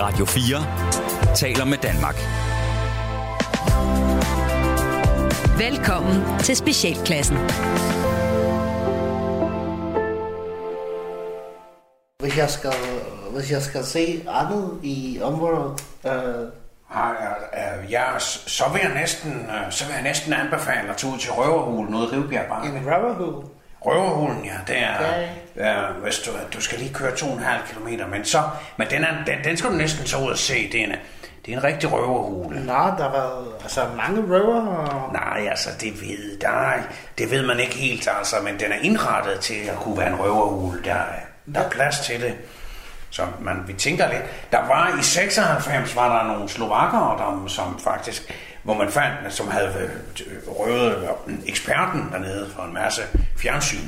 Radio 4 taler med Danmark. Velkommen til Specialklassen. Hvis jeg skal, hvis jeg skal se andet i området, øh, Har, øh, øh, ja, s- så vil jeg næsten, øh, så vil jeg næsten anbefale at tage ud til Røverhulen ude i Rivbjerg Park. en rubberhul, Røverhulen, ja, det er, Ja. øh, hvis du, du skal lige køre 2,5 km, men, så, men den, er, den, den skal du næsten så ud og se, det er en, det er en rigtig røverhule. Nå, der var altså mange røver. og- Nej, altså, det ved, nej, det ved man ikke helt, altså, men den er indrettet til at kunne være en røverhule. Der, er- der er plads til det. Så man, vi tænker lidt. Der var i 96, var der nogle slovakker, der, som faktisk, hvor man fandt, som havde øh, røvet øh, eksperten dernede for en masse fjernsyn.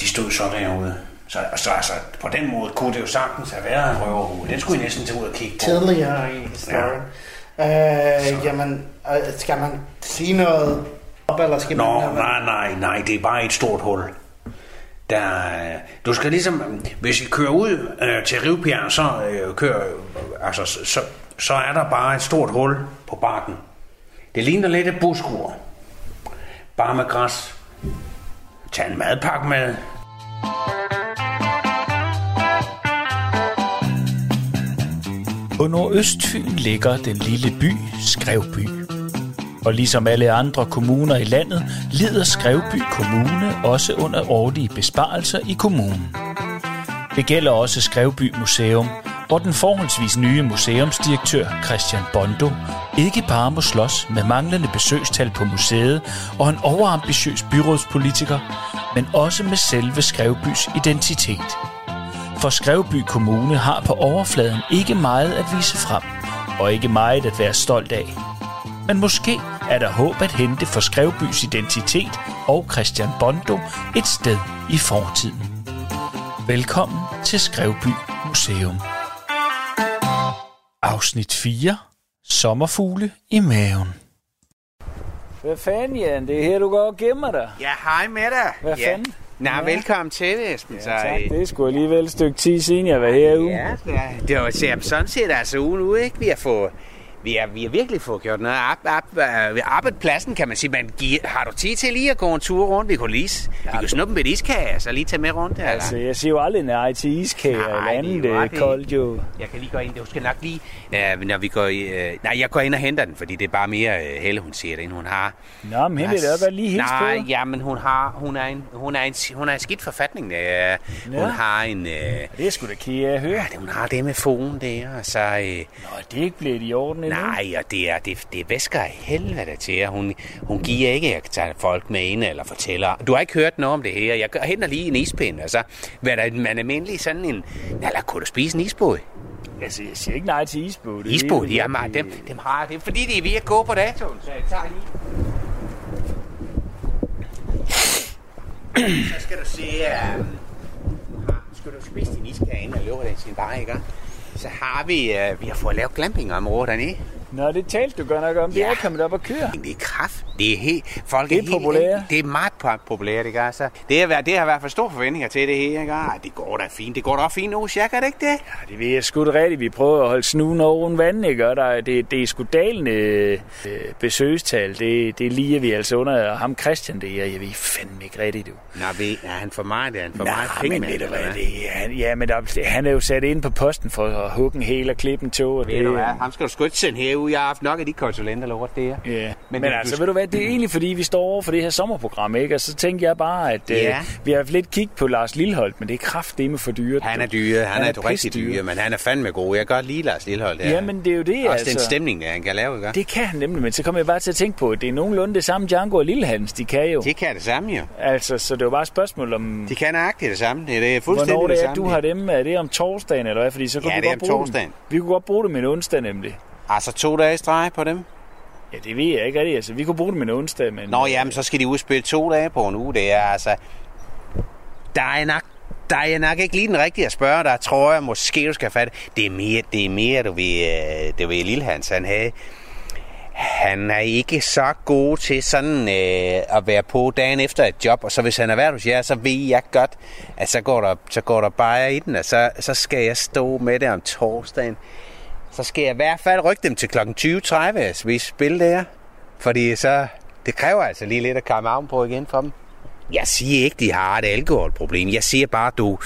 De stod så derude. Så, så altså, på den måde kunne det jo sagtens have været en røverhule. Den skulle I næsten tage ud og kigge på. tidligere i historien. Ja. Øh, jamen, øh, skal man sige noget op, eller skal man... Nå, nej, nej, nej, det er bare et stort hul. Der, er- du skal ligesom, hvis I kører ud øh, til Rivbjerg, så, øh, kører, øh, altså, så- så, så er der bare et stort hul på bakken. Det ligner lidt et buskur. Bare med græs. Tag en madpakke med. På Nordøstfyn ligger den lille by Skrevby. Og ligesom alle andre kommuner i landet, lider Skrevby Kommune også under årlige besparelser i kommunen. Det gælder også Skrevby Museum, hvor den forholdsvis nye museumsdirektør Christian Bondo ikke bare må slås med manglende besøgstal på museet og en overambitiøs byrådspolitiker, men også med selve Skrevbys identitet. For Skrevby Kommune har på overfladen ikke meget at vise frem, og ikke meget at være stolt af. Men måske er der håb at hente for Skrevbys identitet og Christian Bondo et sted i fortiden. Velkommen til Skrevby Museum. Afsnit 4. Sommerfugle i maven. Hvad fanden, Jan? Det er her, du går og gemmer dig. Ja, hej med dig. Hvad ja. fanden? Nå, ja. velkommen til, Esben. Ja, Tak, det er sgu alligevel et stykke tid siden, jeg var herude. Ja, da- det var ser, sådan set altså ugen ud, ikke? Vi har fået vi har, vi har virkelig fået gjort noget op, op, øh, ved arbejdspladsen, kan man sige. Men gi- har du tid til lige at gå en tur rundt? Vi kunne lige, s- vi kunne snuppe med et iskage, og så lige tage med rundt. Eller? Altså, jeg siger jo aldrig nej til iskager eller Nej, det er andet. jo Det er ret i. øh, koldt jo. Jeg kan lige gå ind. Du skal nok lige... Ja, men når vi går i, øh, nej, jeg går ind og henter den, fordi det er bare mere øh, Helle, hun siger det, end hun har. Nå, men hende vil jeg da godt lige hilse på. Nej, ja, men hun, har, hun, er en, hun, er en, hun er en skidt forfatning. Øh, Nå. hun har en... Øh, Det er sgu da kære at høre. Ja, det, hun har det med fogen der, og så... Øh, Nå, det er ikke blevet i orden endnu. nej, og det er, det, det væsker af helvede til, og hun, hun giver ikke at tage folk med ind eller fortæller. Du har ikke hørt noget om det her. Jeg gør- henter lige en ispind, og så hvad der man almindelig sådan en... Eller kunne du spise en isbåd? Altså, jeg siger ikke nej til isbåd. Det er Isbåd, ikke- de er meget, dem, dem har det. er Fordi de er ved at gå på datoen, så jeg tager lige. så skal du se, øh, skal du spise din iskage, inden jeg løber den sin vej, ikke? Så har vi, øh, vi har fået lavet glampingområder dernede. Nå, det talte du godt nok om. Det Ja. er kommet op og køre. Det er kraft. Det er helt... Folk Det er helt- populære. Det er meget po- populært, ikke? Altså, det, har, været- det har i hvert fald store forventninger til det her, ikke? Ej, det går da fint. Det går da også fint nu, Jack, er det ikke det? Ja, det ved jeg sgu da rigtigt. Vi prøver at holde snuden over en vand, ikke? Og der, er- det, det er sgu dalende øh, besøgstal. Det, det liger vi altså under. Og ham Christian, det er, jeg ved fandme ikke rigtigt, du. Nå, ved, er han for meget? Er han for Nå, meget men mand, ved du eller hvad, det er, han, ja, men der, han er jo sat ind på posten for at hugge en hel og klippe en tog. og Ved det- du hvad, ham skal du sgu ikke sende herude. Jeg har haft nok af de konsulenter, lort det her. Ja. Men, Men men du- altså, du- ved du hvad, det er egentlig fordi, vi står over for det her sommerprogram, ikke? Og så tænkte jeg bare, at øh, Ja. vi har haft lidt kig på Lars Lilleholdt, men det er kraftedeme for dyrt. Han er dyre, han, er, er rigtig pisdyr. dyre, men han er fandme god. Jeg kan godt lide Lars Lillehold. Ja, men det er jo det, Også altså. den stemning, der han kan lave, ikke? Det, Det kan han nemlig, men så kom jeg bare til at tænke på, at det er nogenlunde det samme Django og Lillehans, de kan jo. det kan det samme jo. Altså, så det var bare et spørgsmål om, De kan nøjagtigt det samme. Det er- det er fuldstændig hvornår det det er, samme. du har dem. Er det om torsdagen, eller hvad? Fordi så kunne Ja, vi det er godt om bruge dem. torsdagen. Vi kunne godt bruge dem en onsdag, nemlig. Altså to dage i streg på dem? Ja, det ved jeg ikke rigtig. Altså, vi kunne bruge dem en onsdag, men... Nå, jamen, så skal de udspille to dage på en uge. Det er altså... Der er nok, der er jeg nok ikke lige den rigtige at spørge dig, tror jeg. Måske du skal fatte. Det er mere, det er mere du ved, øh, du ved Lille Hans, han havde. Han er ikke så god til sådan øh, at være på dagen efter et job, og så hvis han er været hos jer, så ved jeg godt, at så går der, så går der bare i den, og så, så skal jeg stå med det om torsdagen. så skal jeg i hvert fald rykke dem til kl. 20.30, hvis vi spiller der. Fordi så, det kræver altså lige lidt at komme armen på igen for dem. Jeg siger ikke, de har et alkoholproblem. Jeg siger bare, du...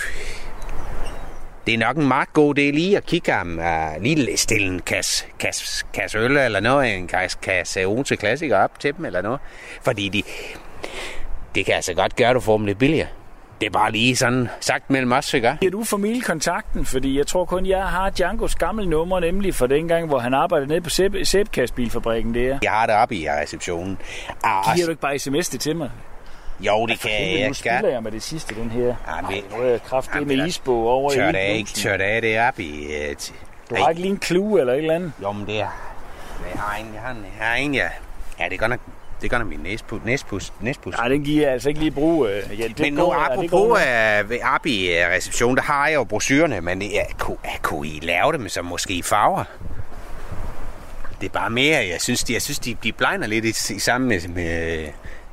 Det er nok en meget god idé lige at kigge ham uh, lige stille en kasse, kasse, kasse øl eller noget, en kasse, kasse Odense Klassiker op til dem eller noget. Fordi de, det kan altså godt gøre, at du får dem lidt billigere. Det er bare lige sådan sagt mellem os, ikke? Giver du familiekontakten? Fordi jeg tror kun, jeg har Django's gamle nummer, nemlig fra dengang, hvor han arbejdede nede på Sæb- Sæbkastbilfabrikken der. Jeg har det oppe i receptionen. Ah, Giver du ikke bare sms det til mig? jo, det kan Jamen, jeg. nu skal. spiller jeg med Altså, det sidste, den her. Jamen, Ej, det- nu er jeg kraftig Jamen, med det er- isbog over i Tør det ildblusen. ikke, tør det af det op i... øh, til- Du Ej. har ikke lige en clue eller et eller andet? Jo, men det er... Jeg har en, jeg har en, jeg har en, ja. Ja, det er godt nok, det er godt nok min næspus, næspus, næspus. Nej, den giver jeg altså ikke lige brug. øh, Ja, det Men nu, går- ja, det går apropos øh, ved- op i øh, receptionen, der har jeg jo brosurerne, men jeg, kunne, jeg, kunne I lave dem som måske i farver? Det er bare mere, jeg synes, de, jeg synes, de, de blegner lidt i, i sammen med, med,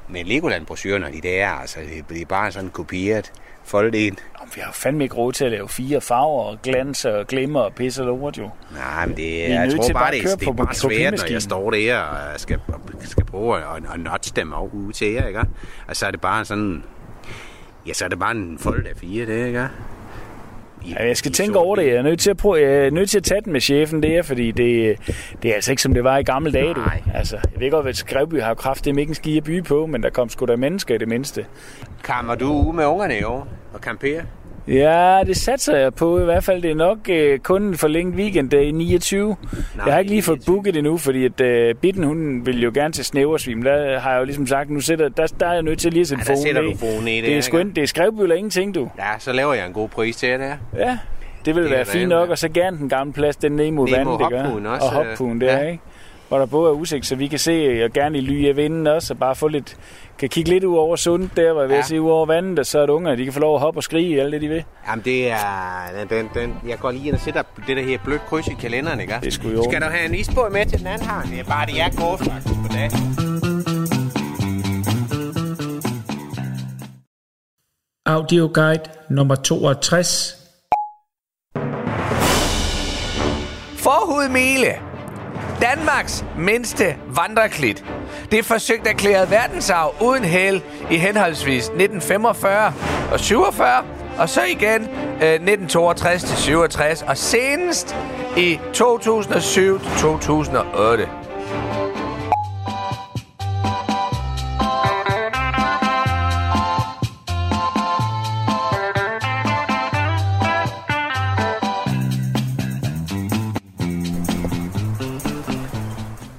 med Legoland-brosurerne, de der, altså, det, det er bare sådan kopieret, foldet ind. Nå, men Vi har jo fandme ikke råd til at lave fire farver og glans og glimmer og pisse og lort, jo. Nej, men det, er jeg nødt tror til bare, bare det, at er- køre det på- er bare på svært, når pindemaskinen. jeg står der og skal, skal prøve at, at, at notche dem over ude til jer, ikke? Og så er det bare sådan... Ja, så er det bare en fold af fire, det, ikke? I, Ja, jeg skal i tænke sort over det. bil. Jeg er nødt til at, prøve, jeg er nødt til at tage den med chefen der, fordi det, det er altså ikke, som det var i gamle dage. Du. Nej. Altså, jeg ved godt, at Skrevby har kraft, det er ikke en skide by på, men der kom sgu da mennesker i det mindste. Kammer du ude med ungerne i år og kamperer? Ja, det satser jeg på. I hvert fald det er nok øh, kun en forlænget weekend øh, i 29. Nej, jeg har ikke lige fået 29. booket endnu, fordi at, øh, Bitten hun vil jo gerne til snæversvim. Der har jeg jo ligesom sagt, nu sætter, der, der er jeg nødt til lige at sætte Ja, der foden sætter ned. du foden ned, Det ja, er sgu ikke? en- det er skrevby eller ingenting, du. Ja, så laver jeg en god pris til jer der. Ja, det ville Det er være da fint ærgerligt. nok, og så gerne den gamle plads, den ned mod Ned mod vandet, det hoppuen gør. også, Og øh, hoppuen der, ja. ikke? Hvor der både er udsigt, så vi kan se, og gerne i ly af vinden også, og bare få lidt, kan kigge lidt ud over sundet der, hvor jeg ja. Ja. se ud over vandet, og så er det unger, de kan få lov at hoppe og skrige, alt det de vil. Jamen, det er... Den, den, den, jeg går lige ind og sætter det der her blødt kryds i kalenderen, ikke? Det er sgu i orden. Skal du have en isbåd med til den anden her? Det er bare det, jeg går faktisk på dag. Audioguide nummer 62. Forhudmele. Danmarks mindste vandreklit. Det er forsøgt erklæret verdensarv uden held i henholdsvis 1945 og 47, og så igen øh, 1962 til 67, og senest i 2007 til 2008.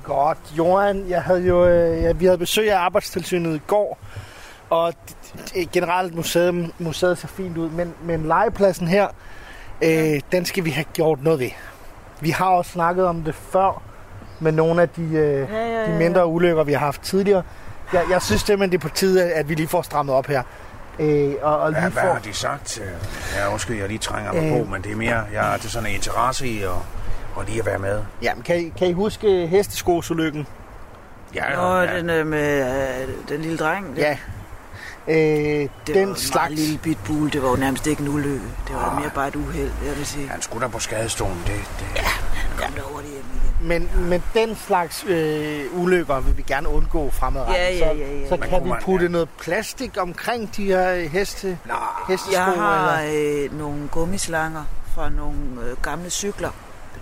Godt, Johan, jeg havde jo, øh, ja, vi havde besøg af Arbejdstilsynet i går, og d- d- generelt museet, museet ser fint ud, men, men legepladsen her, øh, den skal vi have gjort noget ved. Vi har også snakket om det før, med nogle af de, øh, ja, ja, ja, de mindre ulykker, vi har haft tidligere. Jeg, jeg synes simpelthen, det er på tide, at vi lige får strammet op her. Øh, og, og lige Ja, hvad får... har de sagt? Ja, undskyld, jeg lige trænger mig Øh. på, men det er mere, jeg har sådan en interesse i at, at lige at være med. Jamen, kan, I- kan I huske hesteskosulykken? Ja, Nå, ja. den øh, med øh, den lille dreng. Det, Ja. Øh, det var den en slags... meget lille bit bule. Det var jo nærmest ikke en ulykke. Det var da mere bare et uheld, jeg vil sige. Han skulle da på skadestolen, det, det. Kom da over det hjem igen. Men, men den slags øh, ulykker vil vi gerne undgå fremadrettet. Ja, ja, ja, ja. Så, så Men kan kunne vi man- putte noget plastik omkring de her øh, heste, Nå, hestesko. Jeg har eller- øh, nogle gummislanger fra nogle øh, gamle cykler.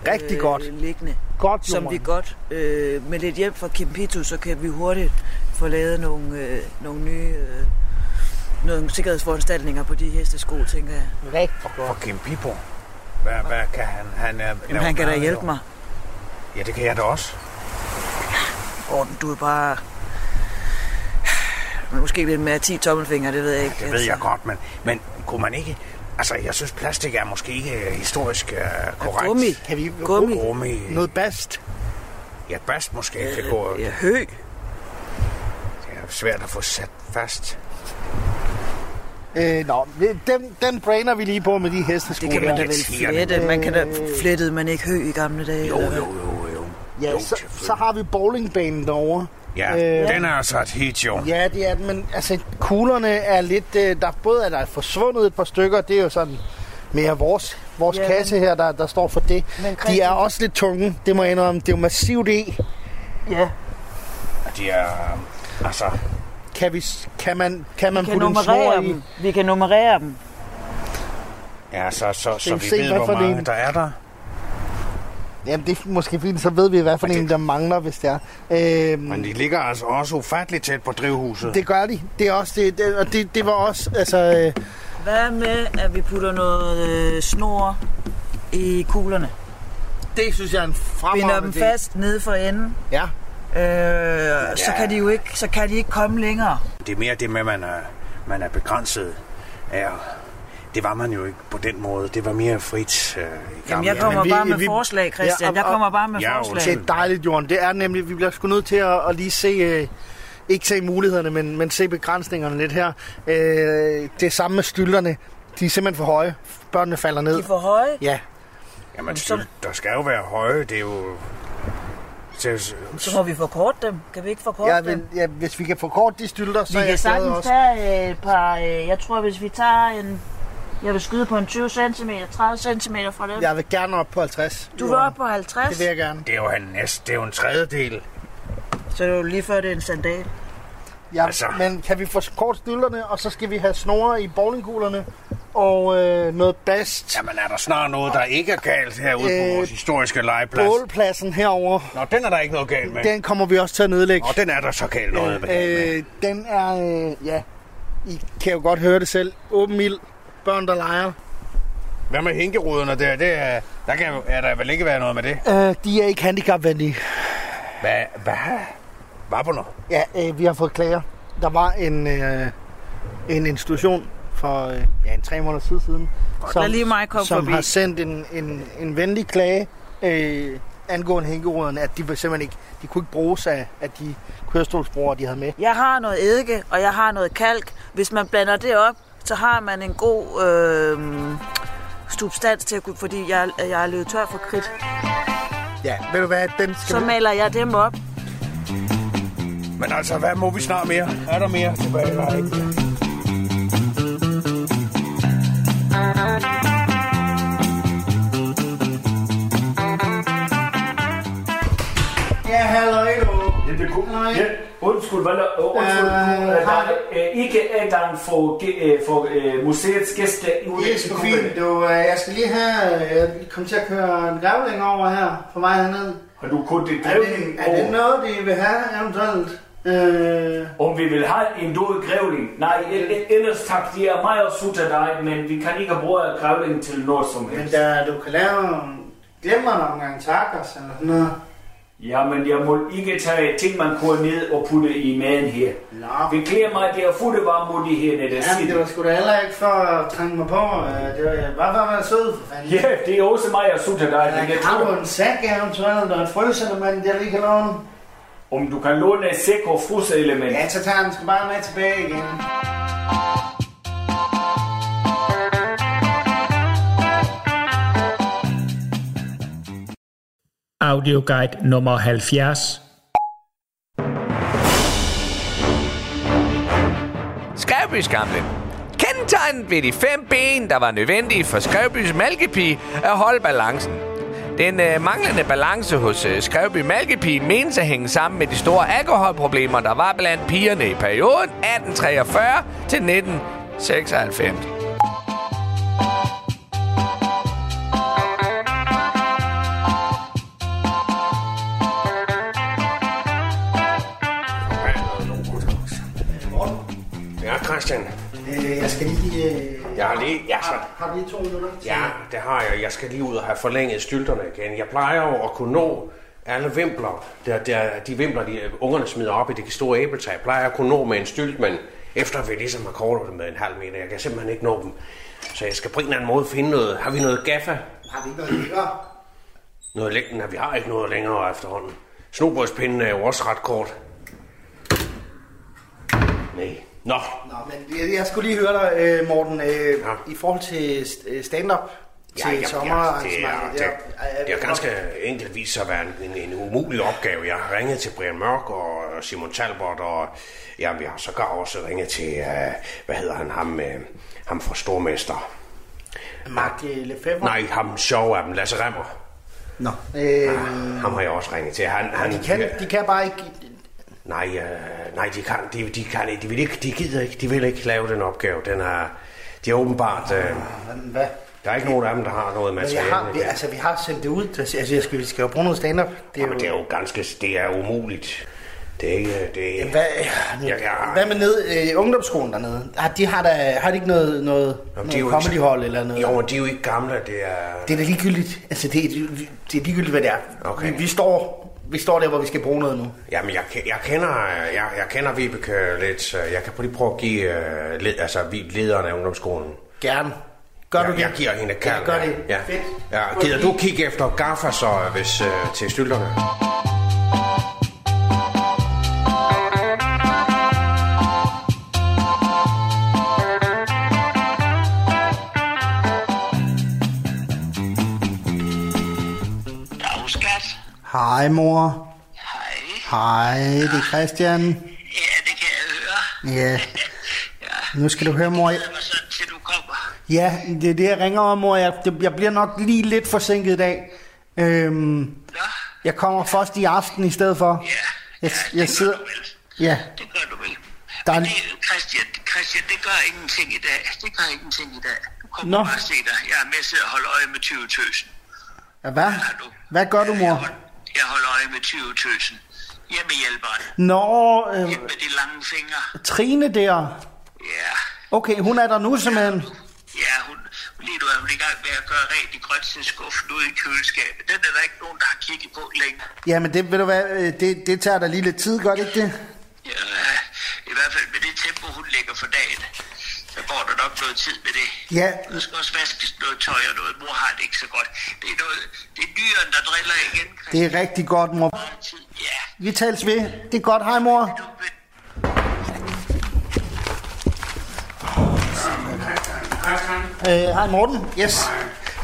øh, Rigtig godt. Liggende, Godt, som vi Johan. godt, øh, med lidt hjælp fra Kempito, så kan vi hurtigt få lavet nogle, øh, nogle nye øh, nogle sikkerhedsforanstaltninger på de hestesko, tænker jeg. Rigtig godt. for Kim Pipo. Hvad, hvad kan han? Han, er, Jamen, han kan da hjælpe mig. Ja, det kan jeg da også. Gordon, du er bare... Men Måske lidt mere 10 tommelfingre, det ved jeg ikke. Altså. Det ved jeg godt, men, men kunne man ikke... Altså, jeg synes, plastik er måske ikke øh, historisk uh, korrekt. Gummi. Kan vi Gummi. Gummi. noget bast? Ja, bast måske kan gå... Ja, hø. Det er svært at få sat fast. Øh, nå, vi- den, den brainer vi lige på med de hestesko. Det kan man der. da vel flette. Man kan da flettede man ikke hø i gamle dage. Jo, eller hvad? jo, jo, jo. ja, jo, så, selvfølgelig. så har vi bowlingbanen derovre. Ja, Øh, den er altså et hit, jo. Ja, det er den, men altså, kuglerne er lidt... Øh, der både er der forsvundet et par stykker, det er jo sådan mere vores vores Ja, yeah. kasse her, der, der står for det. Men De er Christian- også lidt tunge, det må jeg indrømme. Det er jo massivt E. Ja, De er... øhm, Altså, Kan, vi, s- kan man, kan man vi kan putte en snor nummerere i? dem. Vi kan nummerere dem. ja, så, så, så er vi set, ved, hvad hvor for mange en. der er der. Jamen, det er måske fordi, så ved vi, hvad for Men det- en, der mangler, hvis det er. Øhm, Mm. Men de ligger altså også ufatteligt tæt på drivhuset. det gør de. Det er også det, det og det, det var også, altså... Øh, Hvad med, at vi putter noget øh, snor i kuglerne? det synes jeg er en Binder dem fremragende idé. fast nede for enden. Ja. Øh, så, kan de jo ikke, så kan de ikke komme længere. Det er mere det med, at man er, man er begrænset af. Det var man jo ikke på den måde. Det var mere frit. Øh, i Jamen, gamle jeg dage. kommer vi- bare med vi- forslag, Ja, Christian. og- Jeg kommer og- bare med Ja, forslag. undskyld. Det er dejligt, Jorden. Det er nemlig, vi bliver sgu nødt til at, at lige se, øh, ikke se mulighederne, men, men se begrænsningerne lidt her. Øh, det samme med stylterne. De er simpelthen for høje. Børnene falder ned. De er for høje. Ja, Jamen, så- skyld, der skal jo være høje. Det er jo... Det er, Så må vi forkorte dem. Kan vi ikke forkorte ja, dem? men, ja, hvis vi kan få kort de stylter, så Vi er kan jeg glad sagtens også. tage øh, et par, øh, jeg tror hvis vi tager en, jeg vil skyde på en 20 cm, 30 cm fra dem. Ja. Jeg vil gerne op på 50. Du vil Jorden. op på 50, Det vil jeg gerne. det er jo en næst, det er jo en tredjedel. så det er jo lige før det er en sandal. Ja, altså. Altså. Men kan vi få kort stylterne, og så skal vi have snore i bowlingkuglerne og øh, noget bast. Jamen, er der snart noget, der ikke er galt herude øh, Øh, på vores historiske legeplads? Bålpladsen herover, Nå, den er der ikke noget galt med. Den... den kommer vi også til at nedlægge. Nå, den er der så galt noget med. Øh, Øh, den er, øh, ja, I kan jo godt høre det selv. Åben ild, børn der leger. Hvad med hænkeruderne der? Det er, der kan jo- er der vel ikke være noget med det. Øh, de er ikke handicapvenlige. Hvad? Hvad? Hvad for noget? Ja, øh, vi har fået klager. Der var en, øh, en institution for øh, ja, en tre måneder tid siden, lad lige mig komme som forbi. har sendt en, en, en venlig klage øh, angående hænkeråderne, at de var simpelthen ikke, de kunne ikke bruges af, af de kørestolsbrugere, de havde med. Jeg har noget eddike, og jeg har noget kalk. Hvis man blander det op, så har man en god øh, substans til at kunne, fordi jeg, jeg er løbet tør for kridt. Ja, ved du hvad, den skal Så vi... maler jeg dem op. Men altså, hvad må vi snart mere? Er der mere tilbage eller ikke? Ja, halløj du. Jamen, det kunne... Nej. Ja, undskyld, hvad der... Undskyld, Øh, nej. øh, der øh, ikke adgang for, ge- øh, for øh, museets gæster i Det er sgu fint. Du, øh, jeg skal lige have... øh, Jeg kom til at køre en grævling over her på vej herned. Og du kunne det Er drev det, er det noget, de vil have eventuelt? Øh, Om vi vil have en død grævling? Nej, el- el- ellers tak, de er meget sut af dig, men vi kan ikke bruge grævlingen til noget som men helst. der, du kan lave nogle glemmer nogle gange tacos eller sådan noget. Jamen, jeg må ikke tage ting, man kunne ned og putte i maden her. Nå, Vi klæder mig, det er fulde varme i herne, der Jamen, det sidder. var sgu da heller ikke for at trænge mig på. Øh, Det var jeg bare for at være sød, for fanden. Ja, det er også mig, jeg sutter dig, men Jeg jeg har tror, du en sæk eventuelt, og et frøselement, jeg lige kan låne. om du kan låne en sæk og fruselement. Ja, så tager han sgu bare med tilbage igen. Audioguide nummer 70. Skrævbyskamlen. Kendetegnet ved de fem ben, der var nødvendige for Skrævbys malkepige, at holde balancen. Den øh, manglende balance hos øh, Skrævby Malkepige menes at hænge sammen med de store alkoholproblemer, der var blandt pigerne i perioden 1843 til 1996. Ja, Christian. Øh, Jeg skal lige... øh, Jeg har lige... Ja, så... Har vi to minutter? Ja, det har jeg. Jeg skal lige ud og have forlænget stylterne igen. Jeg plejer jo at kunne nå alle vimpler, der, der, de vimpler, de øh, ungerne smider op i det store æbletræ, plejer jeg at kunne nå med en stylt, men efter vi ligesom har kortet dem med en halv meter, jeg kan simpelthen ikke nå dem. Så jeg skal på en eller anden måde finde noget. Har vi noget gaffa? Har vi noget lækker? Noget længden, vi har ikke noget længere efterhånden. Snobrødspinden er jo også ret kort. Nej. Nå, Nå, men jeg, jeg skulle lige høre dig, øh, Morten, øh, Ja. i forhold til st- øh, stand-up til altså, Ja, ja, ja, det, er, sommerarrangementet. det, der. er- det er ganske enkeltvis at være en, en, en umulig opgave. Jeg har ringet til Brian Mørk og Simon Talbot, og ja, vi har øh, sågar også ringet til, uh, hvad hedder han, ham, uh, ham fra øh, Stormester. Mark øh, Lefebvre? Nej, ham sjov af dem, Lasse Remmer. Nå. Øh, Ham har jeg også ringet til. Han, han, de, kan, de kan bare ikke... Nej, øh, nej, de kan, de, de kan ikke. De vil ikke, de gider ikke, de vil ikke lave den opgave. Den er, de er åbenbart, øh, Hvad? hvad? der er ikke nogen af dem, der har noget Men materiale. jeg har, vi, der. altså, vi har sendt det ud. Altså, jeg skal, vi skal jo bruge noget stand-up. Det er Jamen, det er jo ganske, det er umuligt. Det er ikke, det er, Hvad, Ja, ja. hvad med ned, øh, ungdomsskolen dernede? Har de, har, der, har de ikke noget, noget, Jamen, Jamen, det noget er jo ikke- comedyhold eller noget? jo, men de er jo ikke gamle, det er... Det er da ligegyldigt. Altså, det er, det er ligegyldigt, hvad det er. Okay. Vi, vi, står, vi står der, hvor vi skal bruge noget nu. Jamen, jeg, ke- jeg kender, jeg, jeg kender Vibeke lidt. øh, Jeg kan lige prøve at give øh, led, altså, vi- lederen af ungdomsskolen. Gerne. Gør jeg, du det? Jeg giver hende kald. Ja, gør det. Ja. Fedt. Ja. Gider du kigge efter gaffer så, øh, hvis, øh, til stylterne? Dag, skat. Hej, mor. Hej. Hej, det er Christian. Ja, det kan jeg høre. Ja, Ja. nu skal du høre, mor. Jeg mig sådan, til du kommer. Ja, det er det, jeg ringer om, mor. Jeg, det- jeg bliver nok lige lidt forsinket i dag. Øhm, Nå, jeg kommer først i aften i stedet for. ja. Jeg, ja, jeg det sidder... Gør du vel. Ja, Det gør du vel. Der er- Men det, Christian, Christian, det gør ingenting i dag. Det gør ingenting i dag. Du kommer Nå. Nå. bare se dig. Jeg er med til at holde øje med 20 tøsen. Ja, hvad? Hvad gør du, Jeg, mor? hold, jeg holder øje med 20 tøsen. Hjemmehjælperen. Nå, øh, Hjemme med de lange fingre. Trine der. Ja. Okay, hun er der nu simpelthen. Ja, hun, lige nu er hun i gang med at gøre rent i grøntsagsskuffen ude i køleskabet. Den er der ikke nogen, der har kigget på længere. Jamen, det, ved du hvad, øh, det, det tager da lige lidt tid, gør det ikke det? Ja, i hvert fald med det tempo, hun lægger for dagen, så går der nok noget tid med det. Ja. Der skal også vaskes noget tøj og noget. Mor har det ikke så godt. Det er, noget, det er dyren, der driller igen. Det er rigtig godt, mor. Meget tid. Ja, Vi tales ved. Det er godt. Hej, mor. nu vil Øh, hej, Morten. Yes.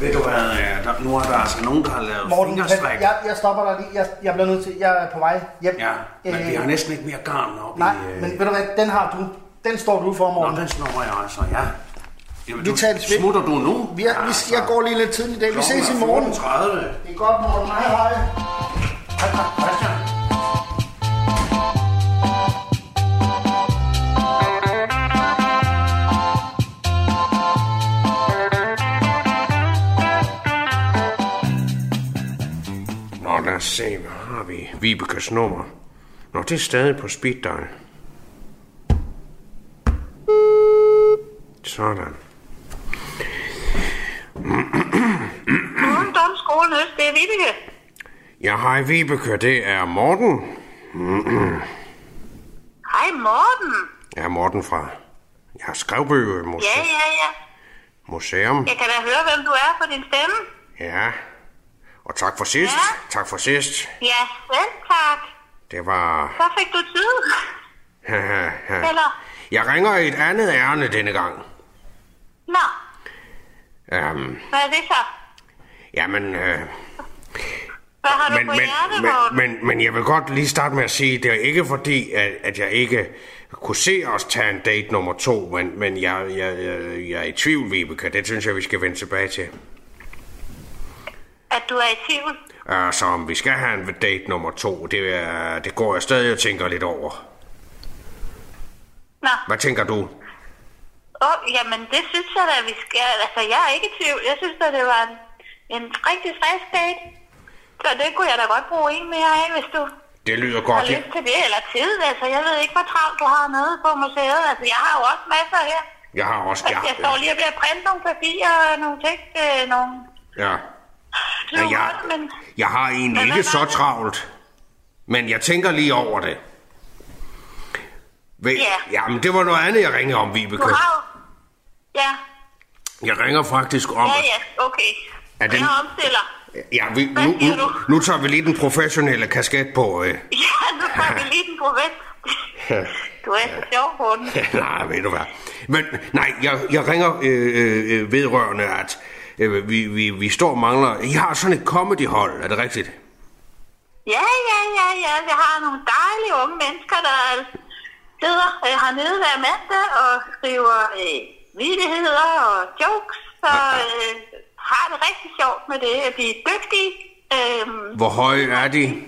Ved du hvad, øh, der, nu er der altså nogen, der har lavet Morten, fingerstrik. jeg, jeg- jeg stopper dig lige. Jeg, jeg bliver nødt til. Jeg er på vej hjem. Ja, men Øh, vi har næsten ikke mere garn op Nej, i... øh, men ved du hvad, den har du. Den står du for, Nå, Morten. den snor jeg altså, ja. Jamen, Vi du, tales ved. smutter du nu? Vi er, vi, jeg går lige lidt tidligt i dag. Vi ses i morgen. 30. Det er godt, Morten. Hej, hej. Nå, lad os se, hvad har vi? Vibekes nummer. Nå, det er stadig på speed dial. Sådan. Morgen, domskolen, det er Vibeke. Ja, hej Vibeke, det er Morten. Hej, Morten. Ja, Morten fra ja, Skrevbø Muse- Ja, ja, ja. Museum. Jeg kan da høre, hvem du er på din stemme. Ja. Og tak for sidst. Ja. Tak for sidst. Ja, selv tak. Det var... Så fik du tid. Eller? Jeg ringer i et andet ærne denne gang. Nå, Um, hvad er det så? jamen, øh, Hvad har du men, på men, hjertet, Morten? men, men, men jeg vil godt lige starte med at sige, det er ikke fordi, at, at jeg ikke kunne se os tage en date nummer to, men, men jeg, jeg, jeg, jeg er i tvivl, Vibeke. Det synes jeg, vi skal vende tilbage til. At du er i tvivl? Uh, så om vi skal have en date nummer to, det, er, det går jeg stadig og tænker lidt over. Nå, Hvad tænker du? oh, jamen det synes jeg da, vi skal. Altså, jeg er ikke i tvivl. Jeg synes da, det var en, en rigtig frisk date. Så det kunne jeg da godt bruge en mere af, hvis du Det lyder har godt. Jeg, lyst til det. Eller tid, altså. Jeg ved ikke, hvor travlt du har nede på museet. Altså, jeg har jo også masser her. jeg har også... Altså, jeg står Jeg, lige og bliver printe nogle papirer og nogle tekst, øh, nogle... ja, Ja, jeg, men... jeg, jeg har egentlig Men hvad ikke så var det? travlt, men jeg tænker lige over det. Ved, Ja. Jamen, det var noget andet, jeg ringede om, Vibeke. Du har jo... Ja, Jeg ringer faktisk om... ja, ja, okay. Er det- Jeg omstiller. Ja, vi, Hvad nu, siger nu, du? nu tager vi lige den professionelle kasket på. Øh. Ja, nu tager vi lige den på vest. Du er så sjov, Morten. nej, ved du hvad. Men nej, jeg, jeg ringer øh, øh, øh, vedrørende, at øh, vi, vi, vi står og mangler... I har sådan et comedy-hold, er det rigtigt? Ja, ja, ja, ja. Jeg har nogle dejlige unge mennesker, der sidder øh, hernede hver mandag og skriver øh, vidigheder og jokes så øh, har det rigtig sjovt med det at blive dygtige. Øhm, Hvor høje er de?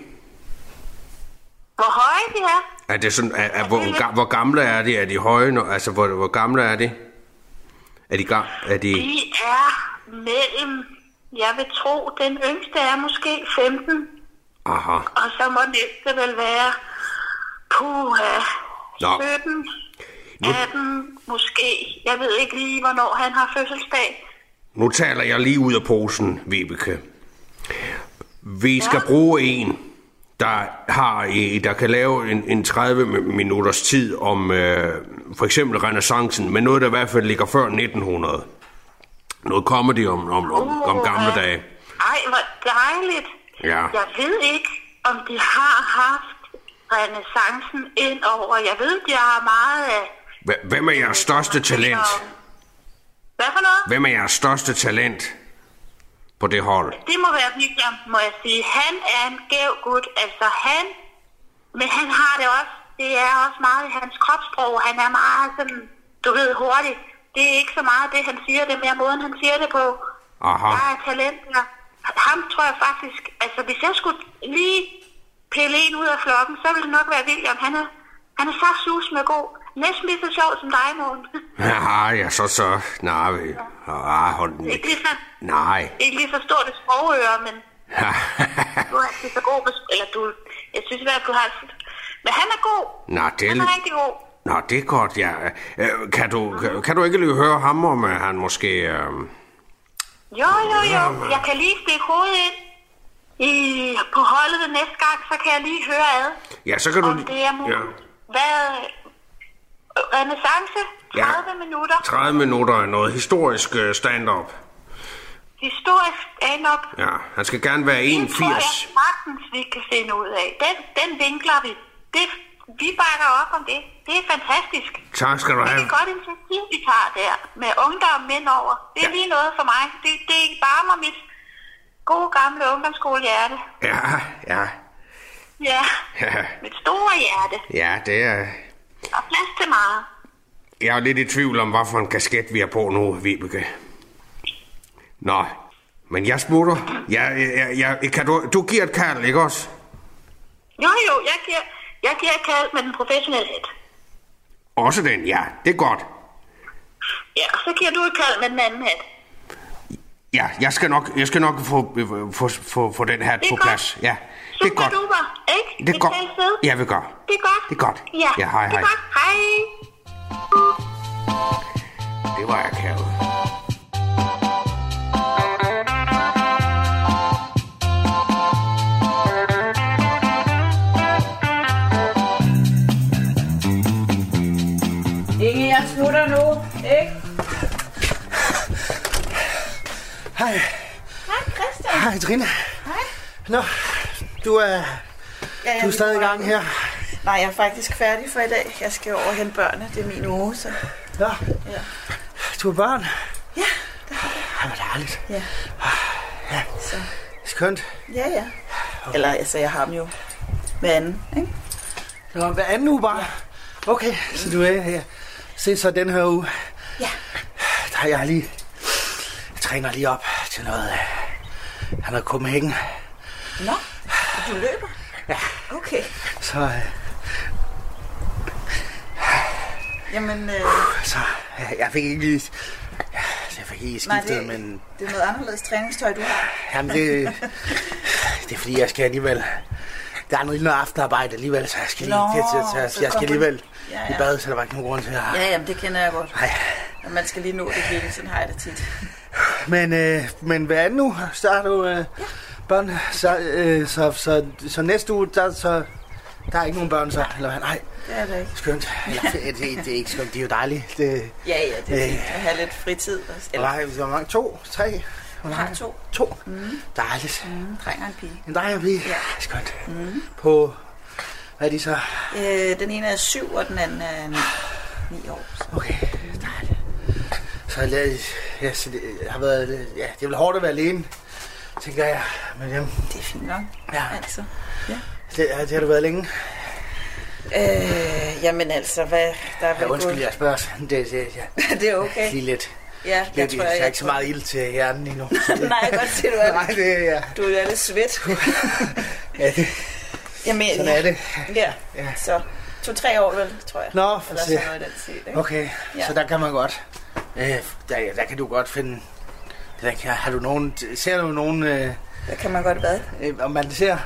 hvor høje de er. Er det sådan, er, er, hvor, ga- hvor gamle er de? Er de høje? nu? Altså, hvor, hvor gamle er de? Er de, ga, er de... De er mellem, jeg vil tro, den yngste er måske 15, Aha. og så må næste vel være, puha, Nå. 17, Øh, 18, måske. Jeg ved ikke lige, hvornår han har fødselsdag. Nu taler jeg lige ud af posen, Vibeke. Vi skal bruge en, der, har, øh, der kan lave en, en 30 minutters tid om øh, for eksempel renaissancen, men noget, der i hvert fald ligger før 1900. Noget comedy om, om, om, om gamle dage. Ej, hvor dejligt. Ja. Jeg ved ikke, om de har haft renaissancen ind over. Jeg ved, de har meget af... Hva- Hvem er jeres største talent? Hvad for noget? Hvem er jeres største talent på det hold? Det må være William, må jeg sige. Han er en gæv gut. Altså han... Men han har det også. Det er også meget i hans kropssprog. Han er meget sådan, du ved, hurtig. Det er ikke så meget det, han siger. Det er mere måden, han siger det på. Aha. Der er talent der. Ham tror jeg faktisk... Altså, hvis jeg skulle lige pille en ud af flokken, så ville det nok være William. Han er, han er så sus med god. Næsten lige så sjov som dig, Morten. Ja, ja, så så. Nej, vi- ah, hold den Ikke væk. lige så, Nej. ikke lige så stort et sprogøre, men du er altid så god. med- Eller du... Jeg synes i hvert fald, du har... Men han er god. Nå, det, Han er rigtig god. nå, det er godt, ja. Øh, Kan du, kan, kan du ikke lige høre ham, om øh, han måske... Øh, Jo, jo, jo. Jeg kan lige stikke hovedet ind i, på holdet den næste gang, så kan jeg lige høre ad. ja, så kan du... Om det er muligt. ja, Hvad? øh, Renaissance? Ja. 30 minutter? 30 minutter af noget historisk øh, stand-up. Historisk stand-up. Ja, han skal gerne være Tror jeg 81. magtens, vi kan finde ud af. Den, den vinkler vi. Det, vi bakker op om det. Det er fantastisk. Tak skal du Det er have. et godt initiativ, vi tager der. Med ungdom og mænd over. Det er lige noget for mig. Det, det varmer mit gode gamle ungdomsskolehjerte. Ja, ja, Ja, ja, mit store hjerte. ja, det er... Og plads til meget. Jeg er lidt i tvivl om, hvad for en kasket vi er på nu, Vibeke. Nå, men jeg smutter. Jeg, jeg, jeg, kan du, du giver et kald, ikke også? Jo, jo, jeg giver, jeg giver et kald med den professionelle et. Også den, ja. Det er godt. Ja, og så giver du et kald med den anden hat. Ja, jeg skal nok, jeg skal nok få, øh, få, få, få den her Det er på godt. plads. Ja, det er godt. Super-duper, ikke? Det er Vi godt. tales ved. Ja, vi gør. Det er godt. Det er godt. Ja, Ja, hej, det er hej. godt. Hej. Det var akavet. Inge, jeg slutter nu, ikke? Hej. Hej, Christian. Hej, Trine. Hej. Nå, du er, Ja, jeg du er vil stadig i bare- gang her. Nej, jeg er faktisk færdig for i dag. Jeg skal over og hente børnene. Det er min uge, så... Nå, Ja. du har børn. Ja, Ej, hvor dejligt. Ja. Ja, Så. skønt. Ja, ja. Eller altså, jeg har dem jo hver anden, ikke? Nå, hver anden uge bare? Okay, så du er her. Se så den her uge. Ja. Der har jeg lige... Jeg træner lige op til noget... Han har noget Copenhagen. Nå, og du løber? Ja. Okay. Så, øh, Jamen, øh, så øh, jeg fik ikke lige... ja, Jeg fik ikke nej, skiftet, det, men... det er noget anderledes træningstøj, du har. Jamen, det, det er fordi, jeg skal alligevel... Der er noget, noget aftenarbejde alligevel, så jeg skal, lige, Nå, jeg, jeg, jeg, så jeg skal kommer- alligevel Ja, i ja. bad, så der var ikke nogen grund til at... Ja, jamen, det kender jeg godt. Nej. Og man skal lige nå det hele, sådan har jeg det tit. Men, øh, men hvad er det nu? Så har du øh, ja. børn, så, øh, så, så, så, næste uge, der, så, der er ikke nogen børn så? Eller hvad? Nej, Det er det ikke. skønt. Eller, det, det, det, er ikke skønt, det er jo dejligt. Det, Ja, ja, det er Øh. fint at have lidt fritid. og- hvor Eller, har hvor mange? To? Tre? Hvor jeg mange? har to. To? Mm. Dejligt. Mm, dreng og en pige. En dreng og pige? Ja. Skønt. Mm. På, hvad er de så? Øh, den ene er syv, og den anden er ni- ni år. Så. Okay, Så, jeg, ja, så det har været, ja, det er vel hårdt at være alene, tænker jeg. Men jamen, det er fint nok. Ja. Altså. Det, det har du været længe. Øh, jamen altså, hvad... Der er Ja, vel undskyld, gået- jeg spørger. Det, det, ja. det er okay. Lige lidt. Ja, Det jeg er tror, jeg, jeg, jeg ikke så meget ild til hjernen endnu. Nej, jeg kan godt se, du er, Nej, det er jeg. du er lidt svedt. Ja, det. Jamen, Sådan er det. Ja, ja. så to-tre år vel, tror jeg. Nå, for Eller se. sådan noget i den stil, ikke? Okay, ja. så der kan man godt. Øh, der, der kan du godt finde... Der kan, har du nogen, ser du nogen... Øh, der kan man godt hvad? Øh, om man ser...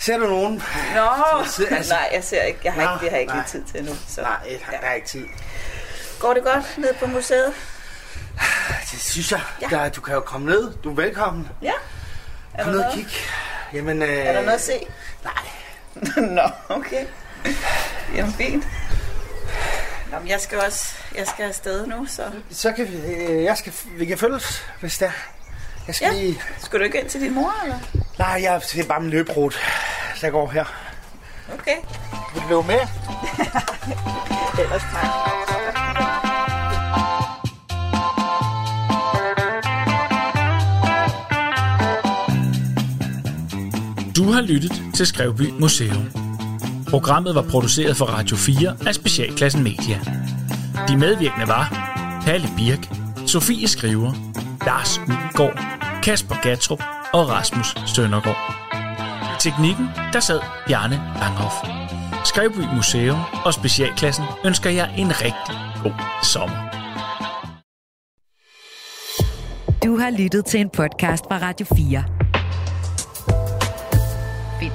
Ser du nogen? Nå, Så- altså- nej, jeg ser ikke. Jeg har Nå, ikke, det har jeg ikke lige nej. tid til endnu. Så. Nej, ja. der er ikke tid. Går det godt ned på museet? Det synes jeg. Ja. Der, du kan jo komme ned. Du er velkommen. Ja. Er Kom der ned og noget? kig. Jamen, øh, Er der noget at se? Nej. Nå, okay. Jamen, fint. Nå, men jeg skal også jeg skal afsted nu, så... Så kan vi, øh, jeg skal, vi kan følges, hvis der. Jeg skal ja. lige... Skal du ikke ind til din mor, eller? Nej, jeg det er bare min løberute, der går her. Okay. Vil du løbe med? Ellers tak. Du har lyttet til Skrevby Museum. Programmet var produceret for Radio 4 af Specialklassen Media. De medvirkende var Palle Birk, Sofie Skriver, Lars Udgaard, Kasper Gatrup og Rasmus Søndergaard. Teknikken, der sad Bjarne Langhoff. Skrevby Museum og Specialklassen ønsker jer en rigtig god sommer. Du har lyttet til en podcast fra Radio 4. Find